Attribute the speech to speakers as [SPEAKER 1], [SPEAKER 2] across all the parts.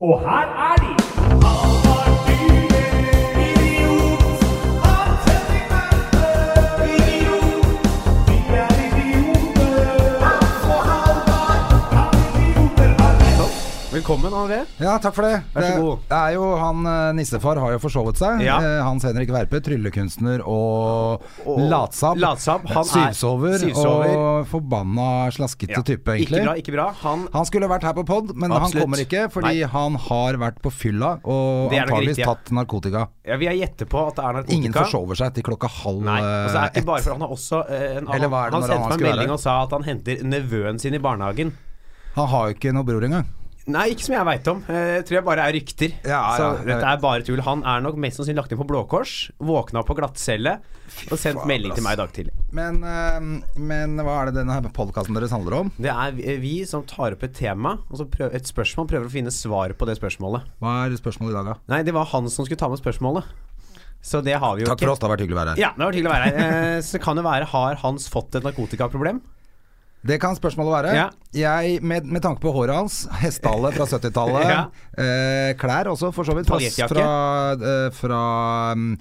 [SPEAKER 1] Og her er de!
[SPEAKER 2] Velkommen, André.
[SPEAKER 3] Ja, takk for det.
[SPEAKER 2] Vær så
[SPEAKER 3] Det-
[SPEAKER 2] god.
[SPEAKER 3] Det er jo han eh, nissefar har jo forsovet seg.
[SPEAKER 2] Ja.
[SPEAKER 3] Eh, Hans Henrik Verpe, tryllekunstner og, latsabb.
[SPEAKER 2] latsabb. Han er
[SPEAKER 3] Syvsover,
[SPEAKER 2] syvsover.
[SPEAKER 3] og forbanna slaskete type, egentlig.
[SPEAKER 2] Ikke bra, ikke bra. Han
[SPEAKER 3] Han skulle vært her på pod, men
[SPEAKER 2] Absolutt.
[SPEAKER 3] han kommer ikke
[SPEAKER 2] Nei.
[SPEAKER 3] fordi han har vært på fylla og
[SPEAKER 2] Det er nok
[SPEAKER 3] antageligvis
[SPEAKER 2] riktig, ja.
[SPEAKER 3] tatt narkotika.
[SPEAKER 2] Jeg vil gjette på at det er narkotika.
[SPEAKER 3] Ingen forsover seg til klokka halv
[SPEAKER 2] Nei, altså det er ikke
[SPEAKER 3] ett.
[SPEAKER 2] bare for Han har også eh, en,
[SPEAKER 3] Eller
[SPEAKER 2] han,
[SPEAKER 3] hva er
[SPEAKER 2] han
[SPEAKER 3] det når
[SPEAKER 2] sendte meg
[SPEAKER 3] han
[SPEAKER 2] en
[SPEAKER 3] skulle være
[SPEAKER 2] melding
[SPEAKER 3] der?
[SPEAKER 2] og sa at han henter nevøen sin i barnehagen.
[SPEAKER 3] Han har jo ikke noe bror engang.
[SPEAKER 2] Nei, ikke som jeg veit om. Eh, Jeg tror jeg bare er rykter.
[SPEAKER 3] Ja,
[SPEAKER 2] så
[SPEAKER 3] ja, jeg
[SPEAKER 2] dette
[SPEAKER 3] vet.
[SPEAKER 2] er bare tull. Han er nok mest sannsynlig lagt inn på Blå Kors, våkna på glattcelle og sendt
[SPEAKER 3] faen,
[SPEAKER 2] melding til
[SPEAKER 3] ass.
[SPEAKER 2] meg i dag tidlig.
[SPEAKER 3] Men, eh, men hva er det denne podkasten deres handler om?
[SPEAKER 2] Det er vi- vi som tar opp et tema, og så prøv, et spørsmål, prøver å finne svar på det spørsmålet.
[SPEAKER 3] Hva er spørsmålet i dag, da?
[SPEAKER 2] Nei, det var han som skulle ta med spørsmålet. Så det har vi jo
[SPEAKER 3] Takk
[SPEAKER 2] ikke.
[SPEAKER 3] for oss, det har vært hyggelig å være her.
[SPEAKER 2] Ja, det var hyggelig å være her. Eh, Så kan det være, har Hans fått et narkotikaproblem?
[SPEAKER 3] Det kan spørsmålet være.
[SPEAKER 2] Ja.
[SPEAKER 3] Jeg, med, med tanke på håret hans, hestehale fra 70-tallet,
[SPEAKER 2] Ja.
[SPEAKER 3] eh, klær også for så vidt, fra,
[SPEAKER 2] Paljettjakke.
[SPEAKER 3] fra, eh, fra mm,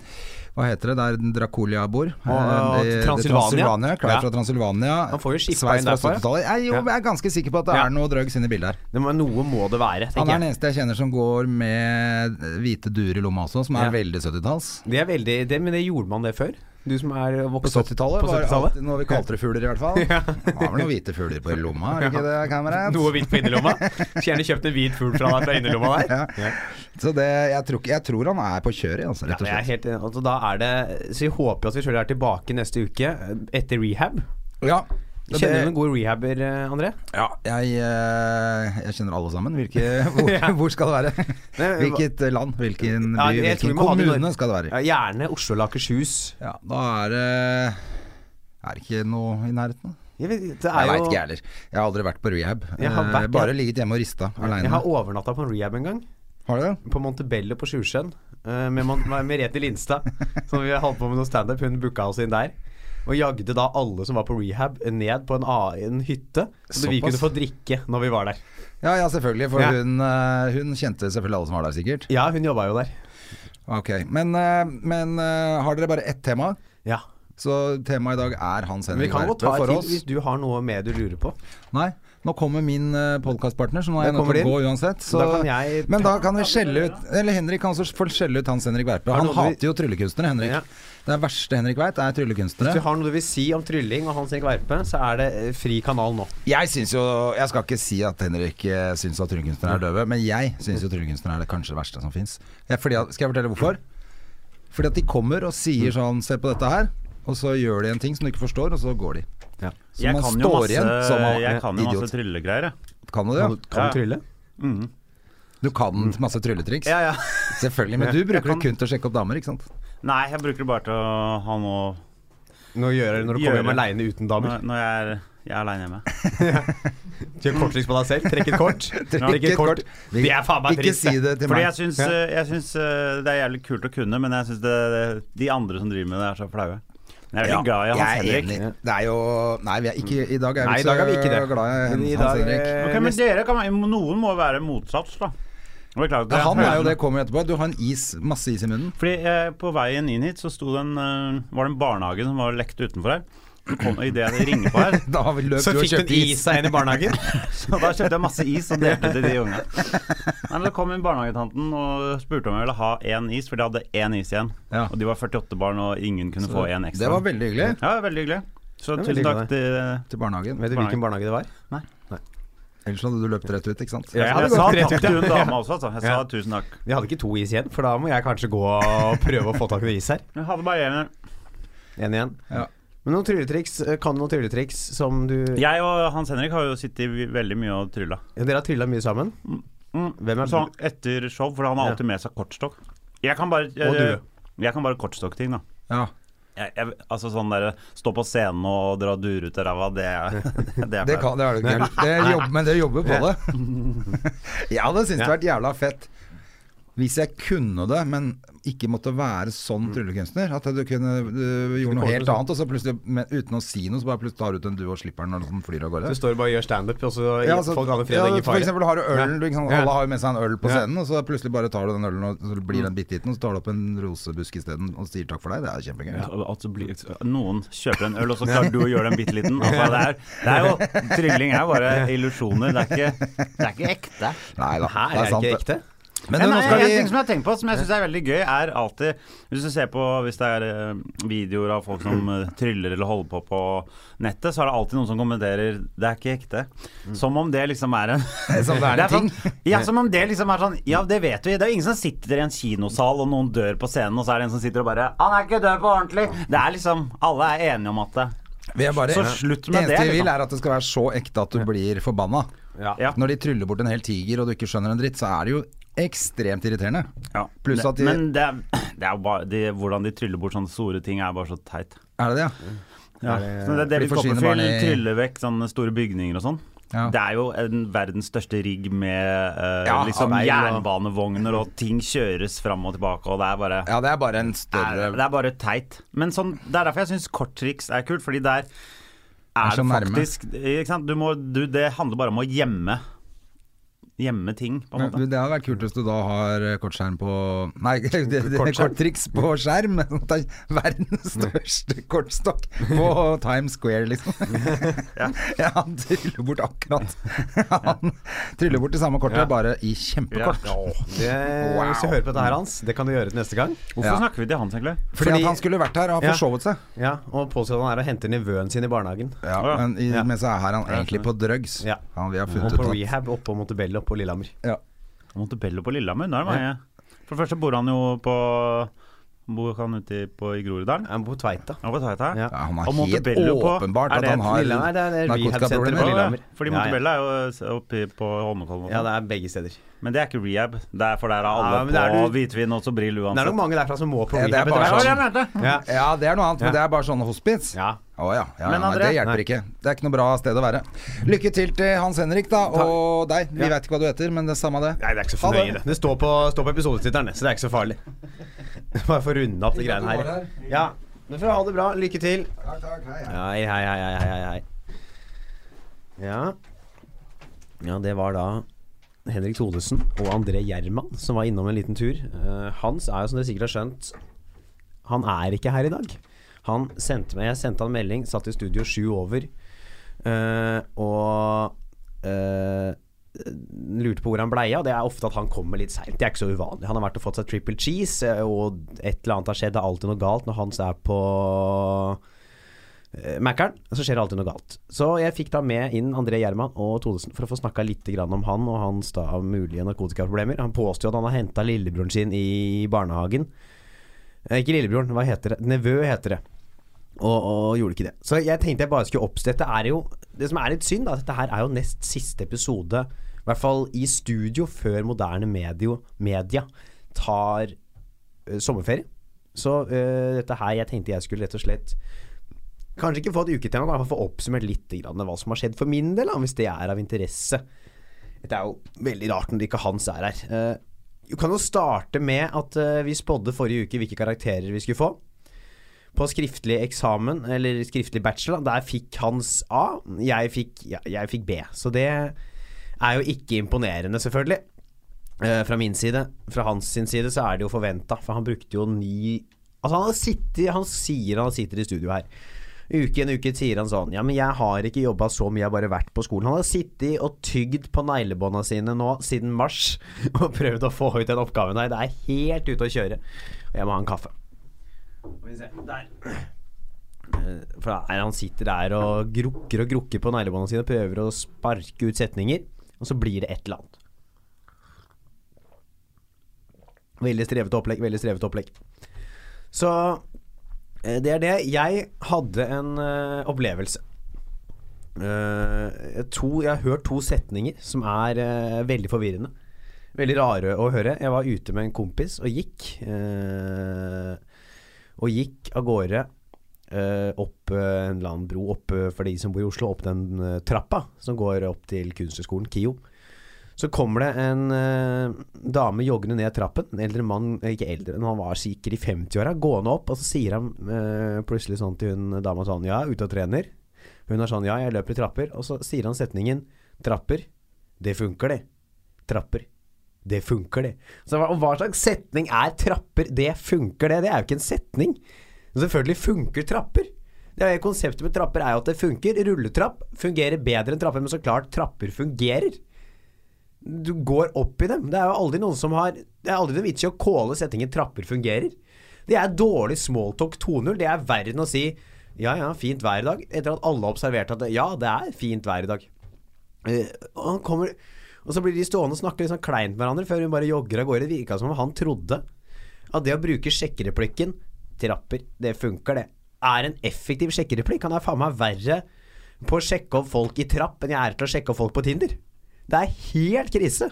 [SPEAKER 3] hva heter det der Draculia bor?
[SPEAKER 2] og
[SPEAKER 3] Eh, i-
[SPEAKER 2] Transylvania.
[SPEAKER 3] Transylvania.
[SPEAKER 2] Ja.
[SPEAKER 3] Klær fra Transylvania.
[SPEAKER 2] Han får jo skippa
[SPEAKER 3] Sveis
[SPEAKER 2] inn
[SPEAKER 3] fra
[SPEAKER 2] derfra.
[SPEAKER 3] 70-tallet. Jeg, jo,
[SPEAKER 2] Ja.
[SPEAKER 3] jeg er ganske sikker på at det
[SPEAKER 2] Ja.
[SPEAKER 3] er noe drugs inne i bildet her.
[SPEAKER 2] Det må, noe må det være,
[SPEAKER 3] Han er
[SPEAKER 2] tenker
[SPEAKER 3] den
[SPEAKER 2] jeg.
[SPEAKER 3] eneste jeg kjenner som går med eh, hvite duer i lomma også, som er
[SPEAKER 2] Ja.
[SPEAKER 3] veldig 70-talls.
[SPEAKER 2] Det er veldig, det, men det gjorde man det før? Du som er
[SPEAKER 3] På
[SPEAKER 2] vokst opp
[SPEAKER 3] 70-tallet
[SPEAKER 2] på
[SPEAKER 3] var
[SPEAKER 2] 70-tallet?
[SPEAKER 3] alltid noe vi kalte det fugler, i hvert fall.
[SPEAKER 2] Ja.
[SPEAKER 3] Det var vel noen hvite fugler på lomma, er det ikke det, kamerat?
[SPEAKER 2] Noe hvitt på innerlomma? Skulle gjerne kjøpt en hvit fugl fra deg fra innerlomma der.
[SPEAKER 3] Ja. Så det, jeg, tror, ikke- jeg tror han er på kjøret,
[SPEAKER 2] Ja,
[SPEAKER 3] altså, rett og
[SPEAKER 2] men jeg er
[SPEAKER 3] slett.
[SPEAKER 2] helt, enig. altså, da er det, så vi håper jo at vi selvfølgelig er tilbake neste uke, eh, etter rehab.
[SPEAKER 3] Ja.
[SPEAKER 2] Kjenner du noen gode rehaber, eh, André?
[SPEAKER 3] Ja, jeg, eh, jeg kjenner alle sammen. Hvilke, hvor,
[SPEAKER 2] Ja. eh,
[SPEAKER 3] hvor skal det være? Hvilket land, hvilken
[SPEAKER 2] Ja,
[SPEAKER 3] by,
[SPEAKER 2] jeg tror vi
[SPEAKER 3] hvilken
[SPEAKER 2] må ha det i
[SPEAKER 3] kommune
[SPEAKER 2] Norge.
[SPEAKER 3] skal det være? i?
[SPEAKER 2] Ja, gjerne Oslo eller Akershus.
[SPEAKER 3] Ja, da er det er det ikke noe i nærheten?
[SPEAKER 2] Jeg, vet, det er
[SPEAKER 3] Jeg veit
[SPEAKER 2] jo-
[SPEAKER 3] ikke, jeg heller. Jeg har aldri vært på rehab.
[SPEAKER 2] Jeg har
[SPEAKER 3] Eh,
[SPEAKER 2] vært-
[SPEAKER 3] Bare ligget hjemme og rista aleine.
[SPEAKER 2] Jeg har overnatta på en rehab en gang.
[SPEAKER 3] Har du det?
[SPEAKER 2] på Montebello på Sjusjøen eh, med Mon- med Merete Lindstad, som vi holdt på med noe standup. Hun booka oss inn der. Og jagde da alle som var på rehab, ned på en, a- en hytte. Så vi
[SPEAKER 3] Såpass.
[SPEAKER 2] kunne få drikke når vi var der.
[SPEAKER 3] Ja, ja, selvfølgelig. For
[SPEAKER 2] Ja.
[SPEAKER 3] Hun, eh, hun kjente selvfølgelig alle som var der, sikkert.
[SPEAKER 2] Ja, hun jobba jo der.
[SPEAKER 3] Ok, Men, eh, men eh, har dere bare ett tema?
[SPEAKER 2] Ja.
[SPEAKER 3] Så temaet i dag er Hans
[SPEAKER 2] Men vi
[SPEAKER 3] Henrik
[SPEAKER 2] kan godt ta
[SPEAKER 3] Verpe
[SPEAKER 2] et
[SPEAKER 3] for
[SPEAKER 2] til
[SPEAKER 3] oss.
[SPEAKER 2] hvis du har noe mer du lurer på.
[SPEAKER 3] Nei, nå kommer min podkastpartner, så nå
[SPEAKER 2] Da
[SPEAKER 3] er jeg nødt
[SPEAKER 2] kommer
[SPEAKER 3] til å
[SPEAKER 2] din.
[SPEAKER 3] gå uansett. Så,
[SPEAKER 2] Da kan jeg
[SPEAKER 3] men da
[SPEAKER 2] ta-
[SPEAKER 3] kan vi skjelle ut Eller Henrik kan også få skjelle ut Hans Henrik Verpe.
[SPEAKER 2] Har
[SPEAKER 3] Han
[SPEAKER 2] noe du-
[SPEAKER 3] hater jo tryllekunstnere, Henrik.
[SPEAKER 2] Ja.
[SPEAKER 3] Det er verste Henrik veit, er
[SPEAKER 2] Hvis du
[SPEAKER 3] tryllekunstnere.
[SPEAKER 2] har noe du vil si om trylling og Hans Erik Verpe, så er det eh, fri kanal nå.
[SPEAKER 3] Jeg syns jo Jeg skal ikke si at Henrik eh, syns at tryllekunstnere er døve, men jeg syns jo tryllekunstnere er det kanskje verste som fins. Skal jeg fortelle hvorfor? Fordi at de kommer og sier sånn Se på dette her. Og så gjør de en ting som du ikke forstår, og så går de. Så
[SPEAKER 4] Jeg
[SPEAKER 3] man
[SPEAKER 4] kan jo
[SPEAKER 3] står
[SPEAKER 4] masse,
[SPEAKER 3] igjen som en
[SPEAKER 4] jeg kan jo masse
[SPEAKER 3] idiot.
[SPEAKER 4] tryllegreier, jeg.
[SPEAKER 3] Kan du det?
[SPEAKER 2] Kan, du- kan
[SPEAKER 4] Ja.
[SPEAKER 2] du trylle?
[SPEAKER 3] Du kan masse trylletriks?
[SPEAKER 2] Ja, ja.
[SPEAKER 3] Selvfølgelig, men du bruker det kun til å sjekke opp damer, ikke sant?
[SPEAKER 4] Nei, jeg bruker det bare til å ha noe
[SPEAKER 2] Nå gjør, når du
[SPEAKER 4] Gjøre.
[SPEAKER 2] kommer hjem aleine uten damer.
[SPEAKER 4] når, når jeg er, jeg er aleine hjemme.
[SPEAKER 2] Kjør korttriks på deg selv. Trekk et kort. Trekk et kort.
[SPEAKER 3] Vi-
[SPEAKER 2] Det er faen meg
[SPEAKER 3] Ikke
[SPEAKER 2] trist,
[SPEAKER 3] si det til
[SPEAKER 4] Fordi
[SPEAKER 3] meg.
[SPEAKER 4] jeg syns, eh, jeg syns eh, det er jævlig kult å kunne, men jeg syns det, det- de andre som driver med det, er så flaue. Men jeg er veldig glad i Hans
[SPEAKER 3] jeg er
[SPEAKER 4] Henrik.
[SPEAKER 3] enig. Det er jo Nei, vi er ikke, i dag er
[SPEAKER 2] Nei,
[SPEAKER 3] vi
[SPEAKER 2] i dag er vi
[SPEAKER 3] ikke
[SPEAKER 2] ikke
[SPEAKER 3] så
[SPEAKER 2] det.
[SPEAKER 3] glad
[SPEAKER 2] Men
[SPEAKER 3] i
[SPEAKER 2] i
[SPEAKER 3] Hans
[SPEAKER 2] dag,
[SPEAKER 3] Henrik.
[SPEAKER 2] eh,
[SPEAKER 4] Ok, men dere kan, noen må være motsats, da. Beklager.
[SPEAKER 3] Ja,
[SPEAKER 4] jeg
[SPEAKER 3] han er jo
[SPEAKER 4] prøver.
[SPEAKER 3] det kommer etterpå. Du har en is, masse is i munnen.
[SPEAKER 4] Fordi eh, På veien inn hit så sto det en, eh, var det en barnehage som var lekt utenfor her. Så kom- og Idet jeg ringer på her,
[SPEAKER 3] Da har vi løpt
[SPEAKER 2] Så
[SPEAKER 3] du og
[SPEAKER 2] fikk du
[SPEAKER 3] kjøpt
[SPEAKER 2] en
[SPEAKER 3] is.
[SPEAKER 2] is av henne i barnehagen.
[SPEAKER 4] Så da kjøpte jeg masse is og delte til de unge. Nei, men Da kom inn barnehagetanten og spurte om jeg ville ha én is, for de hadde én is igjen.
[SPEAKER 3] Ja.
[SPEAKER 4] Og de var 48 barn, og ingen kunne få én ekstra.
[SPEAKER 3] Det var veldig hyggelig.
[SPEAKER 4] Ja, veldig hyggelig. Så
[SPEAKER 2] Det er veldig
[SPEAKER 4] tusen takk
[SPEAKER 2] hyggelig.
[SPEAKER 4] til
[SPEAKER 3] Til barnehagen.
[SPEAKER 2] Vet du hvilken barnehage det var?
[SPEAKER 3] Ellers hadde du løpt rett ut, ikke sant?
[SPEAKER 2] Ja, jeg hadde
[SPEAKER 4] Jeg sa
[SPEAKER 2] gått rett ut,
[SPEAKER 4] takk til
[SPEAKER 2] ja.
[SPEAKER 4] hun dama også, altså. Jeg sa
[SPEAKER 2] Ja.
[SPEAKER 4] tusen takk.
[SPEAKER 2] Vi hadde ikke to is igjen, for da må jeg kanskje gå og prøve å få tak i noe is her.
[SPEAKER 4] Jeg hadde bare en.
[SPEAKER 2] En igjen.
[SPEAKER 3] Ja.
[SPEAKER 2] Men noen trylletriks, eh, kan du noen trylletriks som du
[SPEAKER 4] Jeg og Hans Henrik har jo sittet veldig mye og trylla.
[SPEAKER 2] Ja, Dere har trylla mye sammen. Hvem er-
[SPEAKER 4] så han- etter show, for han har alltid med seg kortstokk. Jeg kan bare eh,
[SPEAKER 2] Og du.
[SPEAKER 4] Jeg kan bare kortstokkting, da.
[SPEAKER 3] Ja.
[SPEAKER 4] Jeg, jeg, altså sånn derre stå på scenen og dra dur ut av ræva, det er Det, er
[SPEAKER 3] Det,
[SPEAKER 4] flaut.
[SPEAKER 3] kan, det er du ikke. Det jobb, men dere jobber på det. Ja, det syns det hadde vært jævla fett. Hvis jeg kunne det, men ikke måtte være sånn
[SPEAKER 2] Mm.
[SPEAKER 3] tryllekunstner At du kunne eh, du gjorde noe helt annet, og så plutselig, men, uten å si noe, så bare plutselig tar du ut en due og slipper den, og den flyr av gårde.
[SPEAKER 2] Du står og bare og gjør standup, og så
[SPEAKER 3] Ja, altså,
[SPEAKER 2] folk aner fred
[SPEAKER 3] ja,
[SPEAKER 2] og ingen
[SPEAKER 3] for
[SPEAKER 2] fare.
[SPEAKER 3] eksempel har du ølen,
[SPEAKER 2] Ja.
[SPEAKER 3] du, ikke sant?
[SPEAKER 2] Ja.
[SPEAKER 3] alle har jo med seg en øl
[SPEAKER 2] Ja.
[SPEAKER 3] på
[SPEAKER 2] Mm.
[SPEAKER 3] scenen, og så plutselig bare tar du den ølen, og så blir den bitte liten, og så tar du opp en rosebusk isteden og sier takk for deg. Det er kjempegøy.
[SPEAKER 4] At det blir, noen kjøper en øl, og så klarer du å gjøre den bitte liten. Altså, det, er, det er jo Trylling er bare illusjoner. Det er ikke, det er ikke ekte.
[SPEAKER 3] Nei da,
[SPEAKER 2] Her er det ikke ekte.
[SPEAKER 3] Men
[SPEAKER 4] Men
[SPEAKER 3] nå
[SPEAKER 4] nei,
[SPEAKER 3] skal
[SPEAKER 4] en
[SPEAKER 3] vi
[SPEAKER 4] ting som jeg har tenkt på, som jeg syns er veldig gøy, er alltid Hvis du ser på Hvis det er eh, videoer av folk som eh, tryller eller holder på på nettet, så er det alltid noen som kommenterer 'det er ikke ekte'. Som om det liksom er en
[SPEAKER 3] Mm. Som det er en ting.
[SPEAKER 4] Sånn, ja, som om det liksom er sånn Ja, det vet vi. Det er jo ingen som sitter i en kinosal, og noen dør på scenen, og så er det en som sitter og bare 'Han er ikke død på ordentlig'. Det er liksom Alle er enige om at det
[SPEAKER 3] vi er bare,
[SPEAKER 4] Så slutt med
[SPEAKER 3] eneste
[SPEAKER 4] det,
[SPEAKER 3] vi vil,
[SPEAKER 4] liksom.
[SPEAKER 3] er at det skal være så ekte at du blir forbanna.
[SPEAKER 2] Ja.
[SPEAKER 4] Ja.
[SPEAKER 3] Når de tryller bort en hel tiger, og du ikke skjønner en dritt, så er det jo ekstremt irriterende.
[SPEAKER 4] ja.
[SPEAKER 3] Pluss at de
[SPEAKER 4] Men det er, det er jo bare de, Hvordan de tryller bort sånne store ting, er bare så teit.
[SPEAKER 3] Er det det,
[SPEAKER 4] Mm.
[SPEAKER 3] ja?
[SPEAKER 4] Ja.
[SPEAKER 2] det-
[SPEAKER 4] Så det er David
[SPEAKER 3] For de forsvinner
[SPEAKER 4] Copperfield
[SPEAKER 3] bare i-
[SPEAKER 4] tryller vekk sånne store bygninger og sånn.
[SPEAKER 3] Ja.
[SPEAKER 4] Det er jo en verdens største rigg med eh,
[SPEAKER 3] Ja,
[SPEAKER 4] liksom
[SPEAKER 2] veil og-
[SPEAKER 4] jernbanevogner, og ting kjøres fram og tilbake, og det er bare
[SPEAKER 3] Ja, det er bare en
[SPEAKER 4] er,
[SPEAKER 3] større
[SPEAKER 4] Det er bare teit. Men sånn, det er derfor jeg syns korttriks er kult, fordi der er
[SPEAKER 3] så
[SPEAKER 4] det
[SPEAKER 3] nærme.
[SPEAKER 4] faktisk ikke sant? Du må, du, Det handler bare om å gjemme Gjemme ting, på en måte.
[SPEAKER 3] Men Det hadde vært kult hvis du da har eh, kortskjerm på Nei, det, det, korttriks på skjerm. Ta Verdens
[SPEAKER 4] Mm.
[SPEAKER 3] største kortstokk på Times Square, liksom. Ja, han tryller bort akkurat. Han tryller bort det samme kortet,
[SPEAKER 2] Ja.
[SPEAKER 3] bare i kjempekort.
[SPEAKER 2] Det, Hvis du hører på dette her, Hans, det kan du gjøre til neste gang.
[SPEAKER 4] Hvorfor
[SPEAKER 3] Ja.
[SPEAKER 4] snakker vi til Hans, egentlig?
[SPEAKER 3] Fordi,
[SPEAKER 2] Fordi-
[SPEAKER 3] at han skulle vært her og har
[SPEAKER 2] Ja.
[SPEAKER 3] forsovet seg.
[SPEAKER 2] Ja, Og påstå at han er og henter nevøen sin i barnehagen.
[SPEAKER 3] Ja, men, i,
[SPEAKER 2] Ja.
[SPEAKER 3] men så er han egentlig på drugs.
[SPEAKER 2] Ja.
[SPEAKER 3] Han, vi har
[SPEAKER 2] Og
[SPEAKER 3] funnet
[SPEAKER 2] på
[SPEAKER 3] ut at
[SPEAKER 2] rehab oppe på Montebello på Lillehammer.
[SPEAKER 3] ja.
[SPEAKER 4] Montebello på Lillehammer? Nå er det mange. For det første bor han jo på Bor han ute i- på, i Groruddalen?
[SPEAKER 2] Han bor på Tveita.
[SPEAKER 4] Han var på Tveita.
[SPEAKER 2] Ja.
[SPEAKER 3] Ja, Han
[SPEAKER 4] Og
[SPEAKER 3] er helt
[SPEAKER 4] Montebello på-
[SPEAKER 3] åpenbart
[SPEAKER 4] er
[SPEAKER 3] at
[SPEAKER 4] det
[SPEAKER 3] han
[SPEAKER 4] et
[SPEAKER 3] har
[SPEAKER 2] Lillehammer? Det er et
[SPEAKER 4] Ja,
[SPEAKER 2] på
[SPEAKER 3] narkotikaproblemer.
[SPEAKER 2] Lillehammer.
[SPEAKER 4] Fordi
[SPEAKER 2] Ja, ja.
[SPEAKER 4] Montebello er jo oppi på Holmenkollen. og
[SPEAKER 2] Ja,
[SPEAKER 4] sånn.
[SPEAKER 2] det er begge steder.
[SPEAKER 4] Men det er ikke rehab. Det er for der er
[SPEAKER 2] Ja,
[SPEAKER 4] alle
[SPEAKER 2] men det er
[SPEAKER 4] på
[SPEAKER 2] du-
[SPEAKER 4] hvitvin og sobril
[SPEAKER 2] Det er
[SPEAKER 4] uansett.
[SPEAKER 2] nok mange derfra som må på
[SPEAKER 3] Ja, det er
[SPEAKER 2] rehab.
[SPEAKER 3] bare
[SPEAKER 2] etter hvert. altså.
[SPEAKER 3] sånn.
[SPEAKER 2] Ja.
[SPEAKER 3] Ja, det er noe annet,
[SPEAKER 2] Ja.
[SPEAKER 3] men det er bare sånne hospits.
[SPEAKER 2] Ja.
[SPEAKER 3] Å ja. ja,
[SPEAKER 4] Men
[SPEAKER 3] ja nei,
[SPEAKER 4] André-
[SPEAKER 3] det hjelper ikke. Det er ikke noe bra sted å være. Lykke til til Hans Henrik da, og deg. Vi
[SPEAKER 2] Ja.
[SPEAKER 3] veit ikke hva du heter, men det er samme det.
[SPEAKER 2] Nei, det er ikke så
[SPEAKER 3] Ha
[SPEAKER 2] fornøye, det. Det står på, står på episodetittelen, det, så det er ikke så farlig. Bare få runde opp de
[SPEAKER 3] Fint at du
[SPEAKER 2] greiene
[SPEAKER 3] var
[SPEAKER 2] her.
[SPEAKER 3] her.
[SPEAKER 2] Ja. Men for å ha det bra, lykke til.
[SPEAKER 3] Takk, takk, hei, hei.
[SPEAKER 2] Hei, hei, hei, hei, hei, hei. Ja. ja, det var da Henrik Thodesen og André Gjerman som var innom en liten tur. Eh, Hans er jo, som dere sikkert har skjønt, han er ikke her i dag. Han sendte meg, Jeg sendte han melding, satt i studio sju over, eh, og eh, lurte på hvor han blei av. Det er ofte at han kommer litt seint. Det er ikke så uvanlig. Han har vært og fått seg triple cheese, eh, og et eller annet har skjedd. Det er alltid noe galt når Hans er på eh, Mækkern, så skjer det alltid noe galt. Så jeg fikk da med inn André Gjerman og Thodesen for å få snakka litt grann om han og hans da mulige narkotikaproblemer. Han påstår jo at han har henta lillebroren sin i barnehagen. Eh, Ikke lillebroren, hva heter det? Nevø heter det. Og, og gjorde ikke det. Så jeg tenkte jeg bare skulle oppstå Dette er jo Det som er litt synd, da, dette her er jo nest siste episode, i hvert fall i studio, før moderne medio, media tar eh, sommerferie. Så eh, dette her Jeg tenkte jeg skulle rett og slett Kanskje ikke få et uketema, men i hvert fall få oppsummert litt grann hva som har skjedd for min del, da, hvis det er av interesse. Dette er jo veldig rart når ikke Hans er her. Eh, Du kan jo starte med at eh, vi spådde forrige uke hvilke karakterer vi skulle få. På skriftlig eksamen, eller skriftlig bachelor, der fikk Hans A. Jeg fikk, ja, jeg fikk B. Så det er jo ikke imponerende, selvfølgelig. Eh, fra min side. Fra hans sin side så er det jo forventa, for han brukte jo ni Altså, han, har sittet, han sier han sitter i studio her. Uke en uke sier han sånn Ja, men jeg har ikke jobba så mye, jeg har bare vært på skolen. Han har sittet og tygd på neglebånda sine nå siden mars og prøvd å få ut den oppgaven her. Det er helt ute å kjøre. Og jeg må ha en kaffe. Skal vi se. Der. Eh, For da er han sitter der og grukker og grukker på neglebånda sine, prøver å sparke ut setninger, og så blir det et eller annet. Veldig strevete opplegg, veldig strevete opplegg. Så eh, det er det. Jeg hadde en eh, opplevelse. Eh, to, jeg har hørt to setninger som er eh, veldig forvirrende. Veldig rare å høre. Jeg var ute med en kompis og gikk. eh, og gikk av gårde eh, opp eh, en eller annen bro opp eh, for de som bor i Oslo, opp den eh, trappa som går opp til Kunsthøgskolen, KIO. Så kommer det en eh, dame joggende ned trappen. En eldre mann, eh, ikke eldre, men han var sikkert i 50-åra, gående opp. Og så sier han eh, plutselig sånn til hun dama sånn Ja, ute og trener. Hun er sånn Ja, jeg løper i trapper. Og så sier han setningen Trapper, det funker, det. Trapper. Det funker, det. Så hva, og hva slags setning er trapper? Det funker, det. Det er jo ikke en setning. Men selvfølgelig funker trapper. Det er, konseptet med trapper er jo at det funker. Rulletrapp fungerer bedre enn trapper, men så klart trapper fungerer. Du går opp i dem. Det er jo aldri noen som har Det er aldri noe vits i å kåle setningen 'trapper fungerer'. Det er dårlig smalltalk 2.0. Det er verre enn å si 'ja ja, fint vær i dag', etter at alle har observert at det, 'ja, det er fint vær i dag'. Eh, og, han kommer, og så blir de stående og snakke litt sånn kleint med hverandre før hun bare jogger av gårde. Det virka som om han trodde at det å bruke sjekkereplikken Trapper, det funker, det. Er en effektiv sjekkereplikk. Han er faen meg verre på å sjekke opp folk i trapp enn jeg er til å sjekke opp folk på Tinder. Det er helt krise.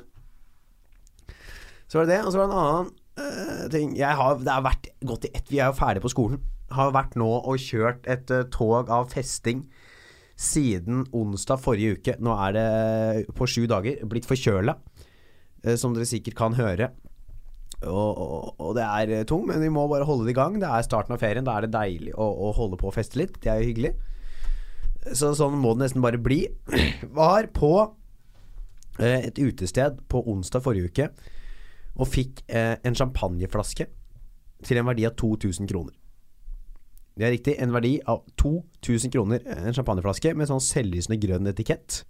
[SPEAKER 2] Så var det det. Og så var det en annen øh, ting jeg har, Det har vært gått i ett Vi er jo ferdig på skolen. Har vært nå og kjørt et øh, tog av festing siden onsdag forrige uke. Nå er det øh, på sju dager blitt forkjøla, øh, som dere sikkert kan høre. Og, og, og det er øh, tung, men vi må bare holde det i gang. Det er starten av ferien. Da er det deilig å, å holde på å feste litt. Det er jo hyggelig. Så sånn må det nesten bare bli. Var på eh, et utested på onsdag forrige uke og fikk eh, en champagneflaske til en verdi av 2000 kroner. Det er riktig, en verdi av 2000 kroner, eh, en champagneflaske med sånn selvlysende grønn etikett.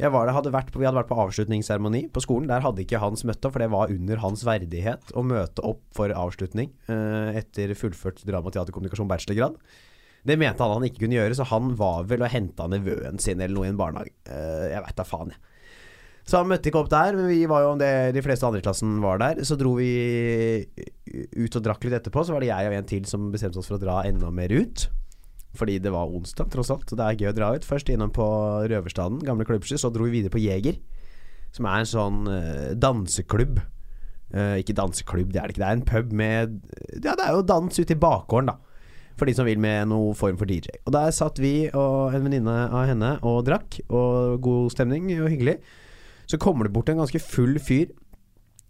[SPEAKER 2] Jeg var der, hadde vært på, vi hadde vært på avslutningsseremoni på skolen. Der hadde ikke Hans møtt opp, for det var under hans verdighet å møte opp for avslutning eh, etter fullført drama, teater, kommunikasjon, bachelorgrad. Det mente han han ikke kunne gjøre, så han var vel og henta nevøen sin eller noe i en barnehage. Eh, jeg veit da faen, jeg. Så han møtte ikke opp der, men vi var jo om det, de fleste andre i klassen var der. Så dro vi ut og drakk litt etterpå. Så var det jeg og en til som bestemte oss for å dra enda mer ut. Fordi det var onsdag, tross alt. Så det er gøy å dra ut. Først innom på Røverstaden, gamle klubbsky. Så dro vi videre på Jeger, som er en sånn eh, danseklubb. Eh, ikke danseklubb, det er det ikke. Det er en pub med Ja, det er jo dans ute i bakgården, da. For de som vil med noe form for DJ. Og der satt vi og en venninne av henne og drakk. Og god stemning og hyggelig. Så kommer det bort en ganske full fyr.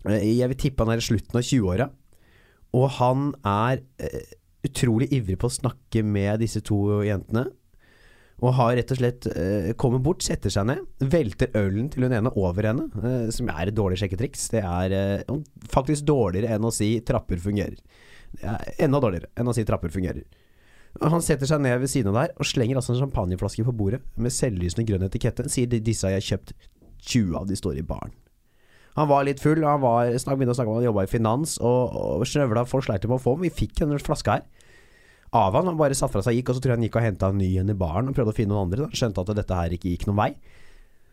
[SPEAKER 2] Eh, Jeg vil tippe han er i slutten av 20-åra. Og han er eh, utrolig ivrig på å snakke med disse to jentene. Og har rett og slett eh, kommer bort, setter seg ned, velter ølen til hun ene over henne. Eh, som er et dårlig sjekketriks. Det er eh, faktisk dårligere enn å si 'trapper fungerer'. Det er enda dårligere enn å si 'trapper fungerer'. Og Han setter seg ned ved siden av der og slenger altså en champagneflaske på bordet med selvlysende grønn etikette. Sier «De- 'disse har jeg kjøpt 20 av, de står i baren'. Han var litt full, og han var, snak, begynte å snakke om at han jobba i finans, og, og snøvla folk sleit med å få den. Vi fikk denne flaska her av han. Han bare satt fra seg, gikk, og så tror jeg han gikk og henta en ny en i baren og prøvde å finne noen andre. Da. Skjønte at dette her ikke gikk noen vei.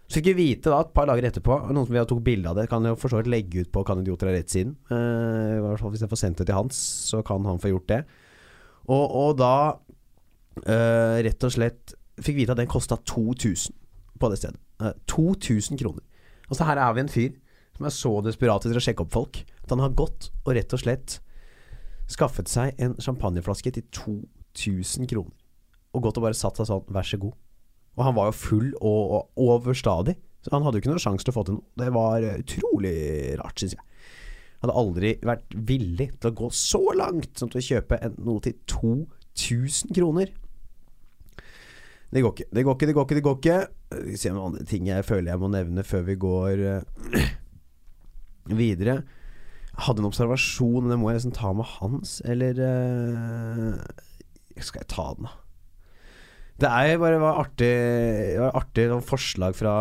[SPEAKER 2] Så fikk vi vite da et par dager etterpå, noen som vi tok bilde av det, kan jo for så vidt legge ut på Kan idioter ha rett siden. Eh, i hvert fall hvis jeg får sendt det til Hans, så kan han få gjort det. Og, og da eh, rett og slett fikk vite at den kosta 2000 på det stedet. Eh, 2000 kroner. Og så her er vi en fyr som er så desperat etter å sjekke opp folk at han har gått og rett og slett skaffet seg en champagneflaske til 2000 kroner. Og gått og bare satt seg sånn, vær så god. Og han var jo full og, og overstadig, så han hadde jo ikke noen sjanse til å få til noe. Det var eh, utrolig rart, syns jeg. Jeg hadde aldri vært villig til å gå så langt som til å kjøpe en, noe til 2000 kroner. Det går ikke, det går ikke, det går ikke. det går ikke Skal vi se om andre ting jeg føler jeg må nevne før vi går eh, videre. Jeg hadde en observasjon, men det må jeg nesten ta med Hans, eller eh, Skal jeg ta den, da? Det er jo bare var artig, det var artig noen forslag fra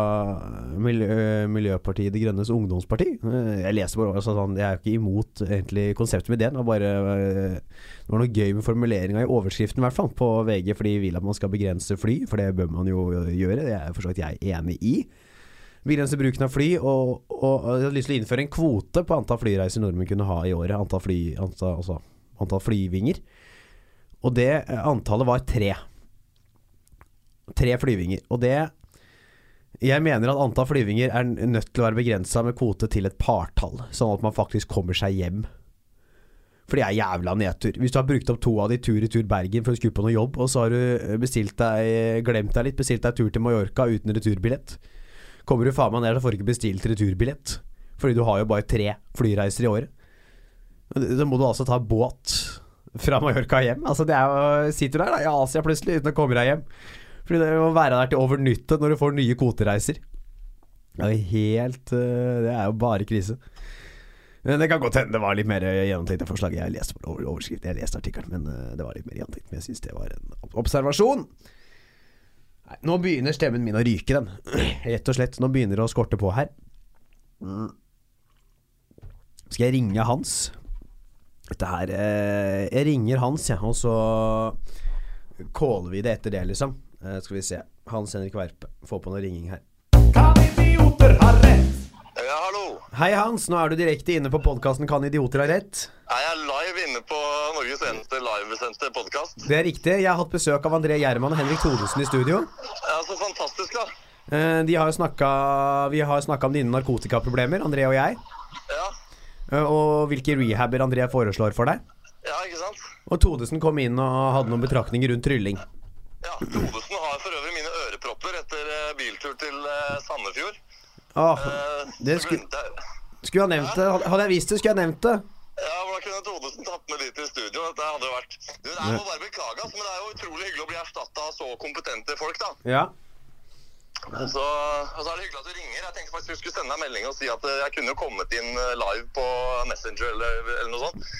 [SPEAKER 2] miljø, Miljøpartiet De Grønnes ungdomsparti. Eh, Jeg leser bare altså, sånn, Jeg er jo ikke imot egentlig konseptet med ideen. Det var bare eh, det var noe gøy med formuleringa i overskriften i hvert fall på VG, for de vil at man skal begrense fly, for det bør man jo gjøre. Det er for så vidt jeg enig i. Begrense bruken av fly, og, og jeg hadde lyst til å innføre en kvote på antall flyreiser nordmenn kunne ha i året. Antall, fly, antall, altså, antall flyvinger. Og det eh, antallet var tre. Tre flyvinger. Og det Jeg mener at antall flyvinger er n- nødt til å være begrensa med kvote til et partall, sånn at man faktisk kommer seg hjem. For det er jævla nedtur. Hvis du har brukt opp to av de tur-retur Bergen for å skulle på noe eh, jobb, og så har du bestilt deg, glemt deg litt, bestilt deg tur til Mallorca uten returbillett Kommer du faen meg ned, så får du ikke bestilt returbillett. Fordi du har jo bare tre flyreiser i året. Men Da må du altså ta båt fra Mallorca hjem. Altså det er jo, Sitter du der da, i Asia plutselig uten å komme deg hjem. Fordi det må være der til over nyttår når du får nye kvotereiser. Det er jo helt eh, Det er jo bare krise. Men Det kan godt hende det var litt mer eh, gjennomtenkt enn forslaget. Jeg leste bare over- overskriften, jeg leste artikkelen, men eh, det var litt mer gjennomtenkt. Men jeg syns det var en observasjon. Nei, nå begynner stemmen min å ryke, den. Rett og slett. Nå begynner det å skorte på her. Skal jeg ringe Hans? Dette her eh, Jeg ringer Hans, jeg, og så caller vi det etter det, liksom. Eh, skal vi se. Hans Henrik Verpe. Få på noe ringing her.
[SPEAKER 1] Kan idioter ha rett?
[SPEAKER 5] Ja, hallo.
[SPEAKER 2] Hei, Hans. Nå er du direkte inne på podkasten Kan idioter ha rett?
[SPEAKER 5] Er jeg live inne på Norges eneste livesendte podkast?
[SPEAKER 2] Det er riktig. Jeg har hatt besøk av André Gjerman og Henrik Thodesen i studio.
[SPEAKER 5] Ja, så fantastisk, da.
[SPEAKER 2] Eh, De har jo snakka, vi har snakka om dine narkotikaproblemer, André og jeg.
[SPEAKER 5] Ja,
[SPEAKER 2] eh, Og hvilke rehaber André foreslår for deg.
[SPEAKER 5] ja ikke sant?
[SPEAKER 2] Og Thodesen kom inn og hadde noen betraktninger rundt trylling.
[SPEAKER 5] Ja, Thodesen har for øvrig mine ørepropper etter eh, biltur til eh, Sandefjord.
[SPEAKER 2] Åh,
[SPEAKER 5] Eh,
[SPEAKER 2] det
[SPEAKER 5] så
[SPEAKER 2] skulle,
[SPEAKER 5] glemte jeg.
[SPEAKER 2] skulle jeg ha nevnt det. Hadde- Hadde jeg visst det, skulle jeg ha nevnt det.
[SPEAKER 5] Ja, Hvordan kunne Thodesen tatt med dit i studio? Dette hadde jo vært Du, Jeg må bare beklage, ass, men det er jo utrolig hyggelig å bli erstatta av så kompetente folk, da.
[SPEAKER 2] Ja.
[SPEAKER 5] Og så, og så er det hyggelig at du ringer. Jeg tenkte faktisk du skulle sende deg en melding og si at eh, jeg kunne jo kommet inn eh, live på Messenger eller, eller noe sånt.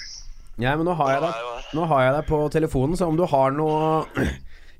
[SPEAKER 2] ja, men nå har jeg
[SPEAKER 5] Ja,
[SPEAKER 2] deg,
[SPEAKER 5] ja,
[SPEAKER 2] nå har jeg deg på telefonen, så om du har noe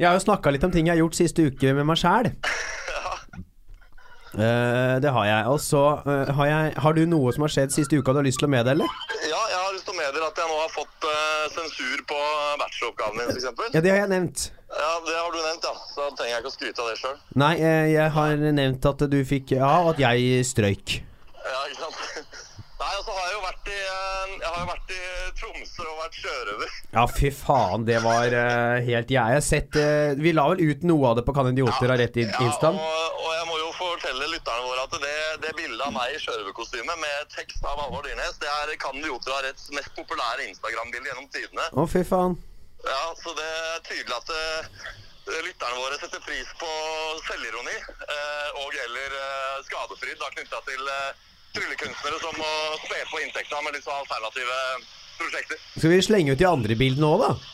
[SPEAKER 2] Jeg har jo snakka litt om ting jeg har gjort siste uke med meg sjæl. Eh, det har jeg. Og så eh, har jeg Har du noe som har skjedd siste uka du har lyst til å meddele?
[SPEAKER 5] Ja, jeg har lyst til å meddele at jeg nå har fått eh, sensur på bacheloroppgaven din, f.eks.
[SPEAKER 2] Ja, det har jeg nevnt.
[SPEAKER 5] Ja, det har du nevnt, ja. Så trenger jeg ikke å skryte av det sjøl.
[SPEAKER 2] Nei, eh, jeg har nevnt at du fikk Ja, og at jeg strøyk.
[SPEAKER 5] Ja, ikke sant. Nei, og så har jeg jo vært i, eh, jeg har jo vært i Tromsø og vært sjørøver.
[SPEAKER 2] Ja, fy faen, det var eh, helt Jeg har sett eh, Vi la vel ut noe av det på Kan idioter ha rett i
[SPEAKER 5] Ja,
[SPEAKER 2] instaen?
[SPEAKER 5] og, og jeg må jo fortelle lytterne våre at det, det bildet av meg i sjørøverkostyme med tekst av Halvor Dyrnes, det er Kan idioter ha retts mest populære Instagram-bilde gjennom tidene.
[SPEAKER 2] Å, fy faen.
[SPEAKER 5] Ja, så det er tydelig at eh, lytterne våre setter pris på selvironi eh, og eller eh, skadefryd da, knytta til eh, tryllekunstnere som må spe på inntekta med disse alternative prosjekter.
[SPEAKER 2] Skal vi slenge ut de andre bildene òg, da?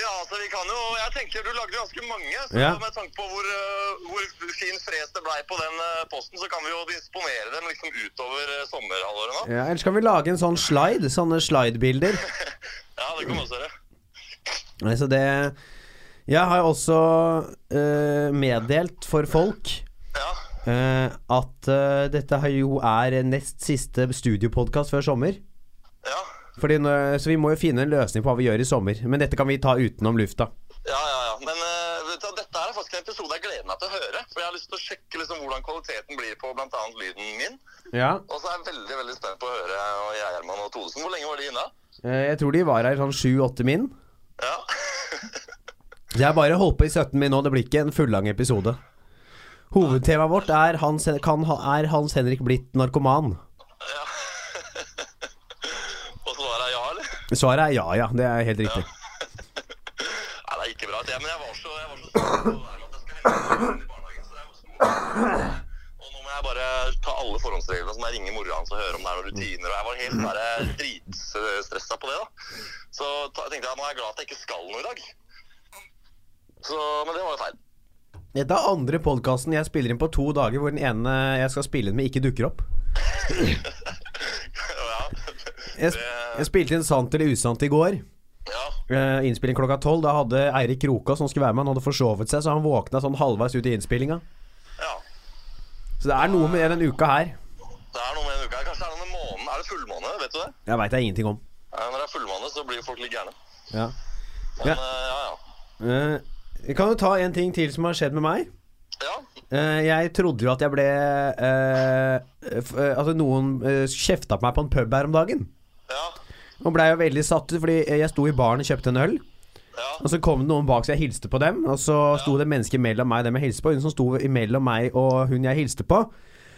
[SPEAKER 5] Ja, altså vi kan jo, jeg tenker Du lagde jo ganske mange, så
[SPEAKER 2] Ja.
[SPEAKER 5] med tanke på hvor, eh, hvor fin fres det blei på den eh, posten, så kan vi jo disponere dem liksom utover uh, sommerhalvåret nå.
[SPEAKER 2] Ja, Eller skal vi lage en sånn slide? Sånne slidebilder.
[SPEAKER 5] Ja, det kan vi også gjøre.
[SPEAKER 2] Nei, så det Jeg har jo også eh, meddelt for folk
[SPEAKER 5] Ja.
[SPEAKER 2] eh, at eh, dette her jo er nest siste studiopodkast før sommer.
[SPEAKER 5] Ja.
[SPEAKER 2] Fordi nå, så vi må jo finne en løsning på hva vi gjør i sommer. Men dette kan vi ta utenom lufta.
[SPEAKER 5] Ja, ja, ja. Men eh, vet du, hva, dette her er faktisk en episode jeg gleder meg til å høre. For jeg har lyst til å sjekke liksom, hvordan kvaliteten blir på bl.a. lyden min.
[SPEAKER 2] Ja.
[SPEAKER 5] Og så er jeg veldig veldig spent på å høre og jeg, Herman og Thodesen. Hvor lenge var de inne?
[SPEAKER 2] Jeg tror de var her sånn sju-åtte min.
[SPEAKER 5] Ja.
[SPEAKER 2] Så jeg bare holdt på i 17 min nå. Det blir ikke en fullang episode. Hovedtemaet vårt er Hans, Hen- kan, ha- er Hans Henrik blitt narkoman?
[SPEAKER 5] ja. og så var det ja, eller?
[SPEAKER 2] Svaret er ja, ja. Det er helt riktig.
[SPEAKER 5] Nei, det er ikke bra. Det, men jeg var så jeg var så stolt på Herman at jeg skulle hente ham i barnehagen. så jeg var så- Og nå må jeg bare ta alle forhåndsreglene som jeg ringer mora hans og høre om det er noen rutiner. Og jeg var helt bare dritstressa på det, da. Så ta, tenkte jeg nå er jeg glad at jeg ikke skal noe i dag. Så, men det var jo feil.
[SPEAKER 2] Dette er andre podkasten jeg spiller inn på to dager, hvor den ene jeg skal spille inn med, ikke dukker opp.
[SPEAKER 5] ja.
[SPEAKER 2] Jeg, sp jeg spilte inn Sant eller usant i går.
[SPEAKER 5] ja.
[SPEAKER 2] Eh, innspilling klokka tolv. Da hadde Eirik Krokås, som skulle være med, han hadde forsovet seg, så han våkna sånn halvveis ut i innspillinga.
[SPEAKER 5] Ja.
[SPEAKER 2] Så det er noe med denne uka her.
[SPEAKER 5] Det er noe med en uke her. Kanskje det er noe med månen. Er det fullmåne? Vet du det?
[SPEAKER 2] Jeg veit jeg ingenting om.
[SPEAKER 5] Ja, når det er fullmåne, så blir folk litt gærne.
[SPEAKER 2] Ja.
[SPEAKER 5] Men
[SPEAKER 2] Ja.
[SPEAKER 5] eh, ja, ja.
[SPEAKER 2] Eh, jeg kan jo ta en ting til som har skjedd med meg.
[SPEAKER 5] Ja,
[SPEAKER 2] Eh, jeg trodde jo at jeg ble eh, f eh, Altså, noen eh, kjefta på meg på en pub her om dagen.
[SPEAKER 5] ja,
[SPEAKER 2] Og blei jo veldig satt ut, fordi eh, jeg sto i baren og kjøpte en øl.
[SPEAKER 5] ja.
[SPEAKER 2] Og så kom det noen bak, så jeg hilste på dem. Og så sto det mennesker mellom meg og dem jeg hilste på. Hun som sto mellom meg og hun jeg hilste på,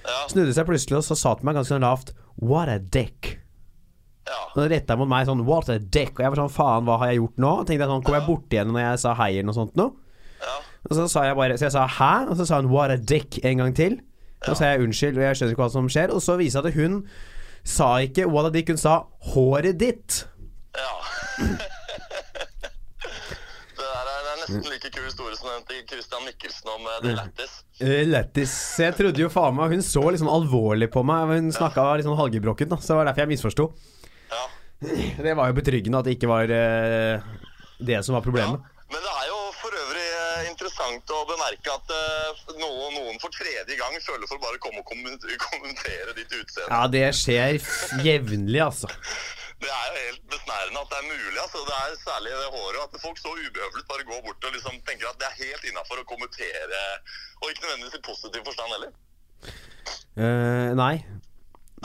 [SPEAKER 5] Ja.
[SPEAKER 2] snudde seg plutselig og så sa til meg ganske sånn lavt What a dick.
[SPEAKER 5] ja.
[SPEAKER 2] Og retta mot meg sånn What a dick. Og jeg var sånn faen, hva har jeg gjort nå? Tenkte jeg sånn, Kom jeg borti henne når jeg sa hei eller noe sånt nå?
[SPEAKER 5] Ja.
[SPEAKER 2] Og så sa jeg bare Så jeg sa hæ? Og så sa hun What a dick en gang til. Og så sa jeg unnskyld, og jeg skjønner ikke hva som skjer. Og så viser det seg at hun sa ikke what a dick, hun sa håret ditt.
[SPEAKER 5] Ja. det der er det er nesten like kul historie som den til Christian Mikkelsen om eh, The Lattis.
[SPEAKER 2] Eh, Lættis. Jeg trodde jo faen meg Hun så litt sånn alvorlig på meg. Hun snakka litt sånn halvgebrokken, da, så det var derfor jeg misforsto.
[SPEAKER 5] Ja.
[SPEAKER 2] Det var jo betryggende at det ikke var eh, det som var
[SPEAKER 5] ja.
[SPEAKER 2] problemet.
[SPEAKER 5] Men det er jo for øvrig eh, interessant å bemerke at eh, noen, noen for tredje gang føler for å bare komme og komment- kommentere ditt utseende.
[SPEAKER 2] Ja, det skjer f- jevnlig, altså.
[SPEAKER 5] Det er jo helt besnærende at det er mulig. altså. Det er særlig det håret. At folk så ubehøvlet bare går bort og liksom tenker at det er helt innafor å kommentere. Og ikke nødvendigvis i positiv forstand heller.
[SPEAKER 2] Eh, nei.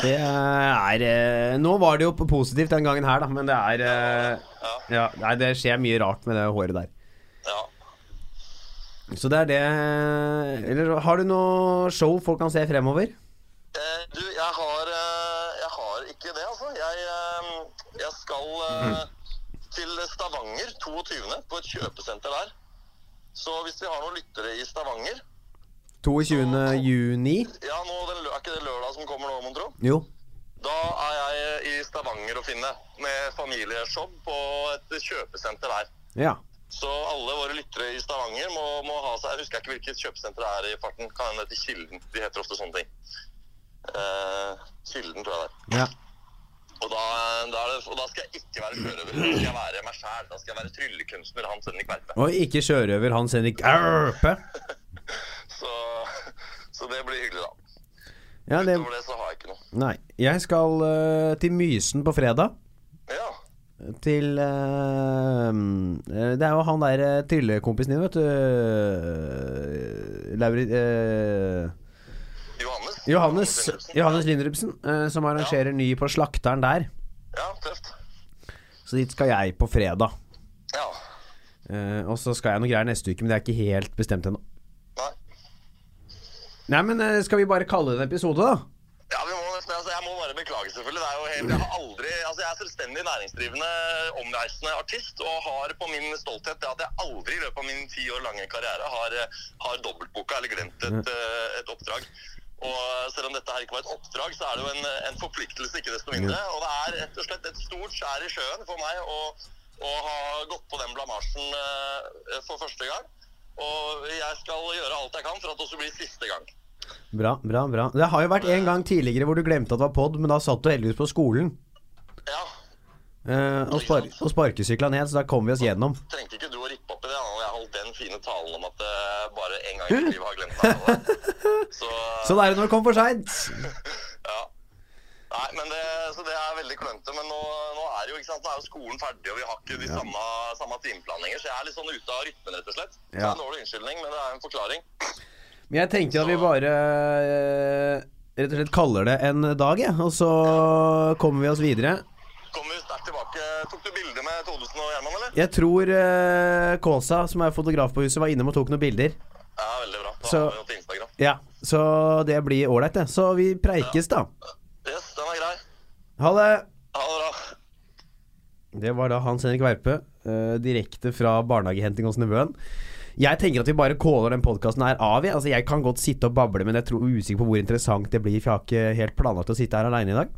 [SPEAKER 2] Det er eh, Nå var det jo p- positivt den gangen her, da, men det er eh, ja, Nei, det skjer mye rart med det håret der.
[SPEAKER 5] Ja.
[SPEAKER 2] Så det er det Eller har du noe show folk kan se fremover?
[SPEAKER 5] Eh, du, jeg har, eh, jeg har ikke det, altså. Jeg, eh, jeg skal eh, til Stavanger 22. på et kjøpesenter der. Så hvis vi har noen lyttere i Stavanger
[SPEAKER 2] 22. juni?
[SPEAKER 5] Ja, nå, den, lø- Er ikke det lørdag som kommer nå, mon tro?
[SPEAKER 2] Jo.
[SPEAKER 5] Da er jeg i Stavanger å finne med familieshow på et kjøpesenter der.
[SPEAKER 2] Ja.
[SPEAKER 5] Så alle våre lyttere i Stavanger må, må ha seg Jeg husker ikke hvilket kjøpesenter det er i farten. Kan hende til Kilden. De heter ofte sånne ting. Eh, kilden, tror jeg det er.
[SPEAKER 2] ja.
[SPEAKER 5] Og da, da, er det, og da skal jeg ikke være sjørøver. Da skal jeg være meg sjæl. Da skal jeg være tryllekunstner Hans Henrik Verpe.
[SPEAKER 2] Og ikke sjørøver Hans Henrik Erpe.
[SPEAKER 5] Så, så det blir hyggelig, da.
[SPEAKER 2] Ja, det
[SPEAKER 5] Utover det så har jeg ikke noe.
[SPEAKER 2] Nei. Jeg skal eh, til Mysen på fredag.
[SPEAKER 5] Ja.
[SPEAKER 2] Til eh, mm, eh, Det er jo han der eh, tryllekompisen din, vet du. eh, Lauri... eh,
[SPEAKER 5] Johannes.
[SPEAKER 2] Johannes, Johannes Lindrupsen, eh, som arrangerer ny på Slakteren der.
[SPEAKER 5] Ja, tøft.
[SPEAKER 2] Så dit skal jeg på fredag.
[SPEAKER 5] Ja.
[SPEAKER 2] Eh, og så skal jeg noe greier neste uke, men det er ikke helt bestemt ennå.
[SPEAKER 5] Nei.
[SPEAKER 2] Nei, men eh, skal vi bare kalle det en episode, da?
[SPEAKER 5] Ja, vi må nesten, altså, Jeg må bare beklage, selvfølgelig. Det er jo helt, Jeg har aldri, altså jeg er selvstendig næringsdrivende, omreisende artist og har på min stolthet det at jeg aldri i løpet av min ti år lange karriere har, eh, har dobbeltboka eller glemt et, eh, et oppdrag. Og Selv om dette her ikke var et oppdrag, så er det jo en, en forpliktelse, ikke desto mindre. Og det er rett og slett et stort skjær i sjøen for meg å, å ha gått på den blamasjen eh, for første gang. Og jeg skal gjøre alt jeg kan for at det også blir siste gang.
[SPEAKER 2] Bra, bra, bra. Det har jo vært en gang tidligere hvor du glemte at det var pod, men da satt du heldigvis på skolen.
[SPEAKER 5] Ja,
[SPEAKER 2] Eh, og, spar og sparkesykla ned, så da kom vi oss gjennom.
[SPEAKER 5] Trengte ikke du å rippe opp i det? Anna? Jeg holdt den fine talen om at eh, bare en gang i livet har jeg glemt meg. alle. Så,
[SPEAKER 2] Så det er jo når det kom for seint.
[SPEAKER 5] ja. Nei, men det, så det er veldig klønete. Men nå, nå, er jo, ikke sant? nå er jo skolen ferdig, og vi har ikke de samme, samme timeplaninger. Så jeg er litt sånn ute av rytmen, rett og slett. Så det
[SPEAKER 2] Ja.
[SPEAKER 5] er en dårlig unnskyldning, men det er en forklaring.
[SPEAKER 2] Men jeg tenkte at vi bare eh, rett og slett kaller det en dag, jeg. Og så kommer vi oss videre.
[SPEAKER 5] Kommer vi sterkt tilbake. Tok du bilde med Thodesen og Gjerman, eller?
[SPEAKER 2] Jeg tror eh, Kåsa, som er fotograf på huset, var innom og tok noen bilder.
[SPEAKER 5] Ja, veldig bra. Da
[SPEAKER 2] Så-
[SPEAKER 5] har vi jo til Instagram.
[SPEAKER 2] Ja, Så det blir ålreit, det. Så vi preikes, da.
[SPEAKER 5] Yes, den er grei.
[SPEAKER 2] Ha det.
[SPEAKER 5] Ha det bra.
[SPEAKER 2] Det var da Hans Henrik Verpe, eh, direkte fra barnehagehenting hos nevøen. Jeg tenker at vi bare caller den podkasten her av. jeg. Altså, jeg kan godt sitte og bable, men jeg tror usikker på hvor interessant det blir. For jeg har ikke helt planlagt å sitte her aleine i dag.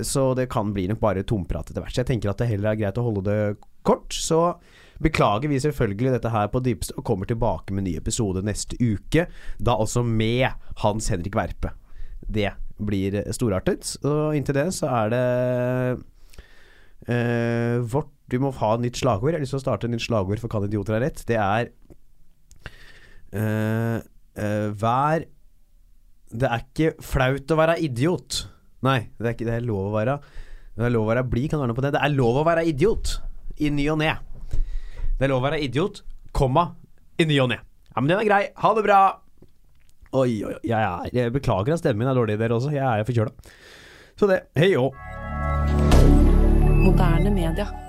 [SPEAKER 2] Så det kan bli nok bare tomprat etter hvert. Så jeg tenker at det heller er greit å holde det kort. Så beklager vi selvfølgelig dette her på dypeste og kommer tilbake med en ny episode neste uke. Da også med Hans Henrik Verpe. Det blir storartet. Og inntil det så er det Eh, vårt Du må ha et nytt slagord. Jeg har lyst til å starte et nytt slagord for Kan idioter ha rett. Det er eh, eh, Vær Det er ikke flaut å være idiot. Nei, det er ikke det er lov å være. Det er lov å være blid, kan du ordne på det. Det er lov å være idiot i ny og ne. Det er lov å være idiot, komma, i ny og ne. Ja, men den er grei. Ha det bra. Oi, oi, oi. Jeg, er, jeg beklager at stemmen min er dårlig, dere også. Jeg er forkjøla. Så det. Hei òg.
[SPEAKER 6] Moderne media.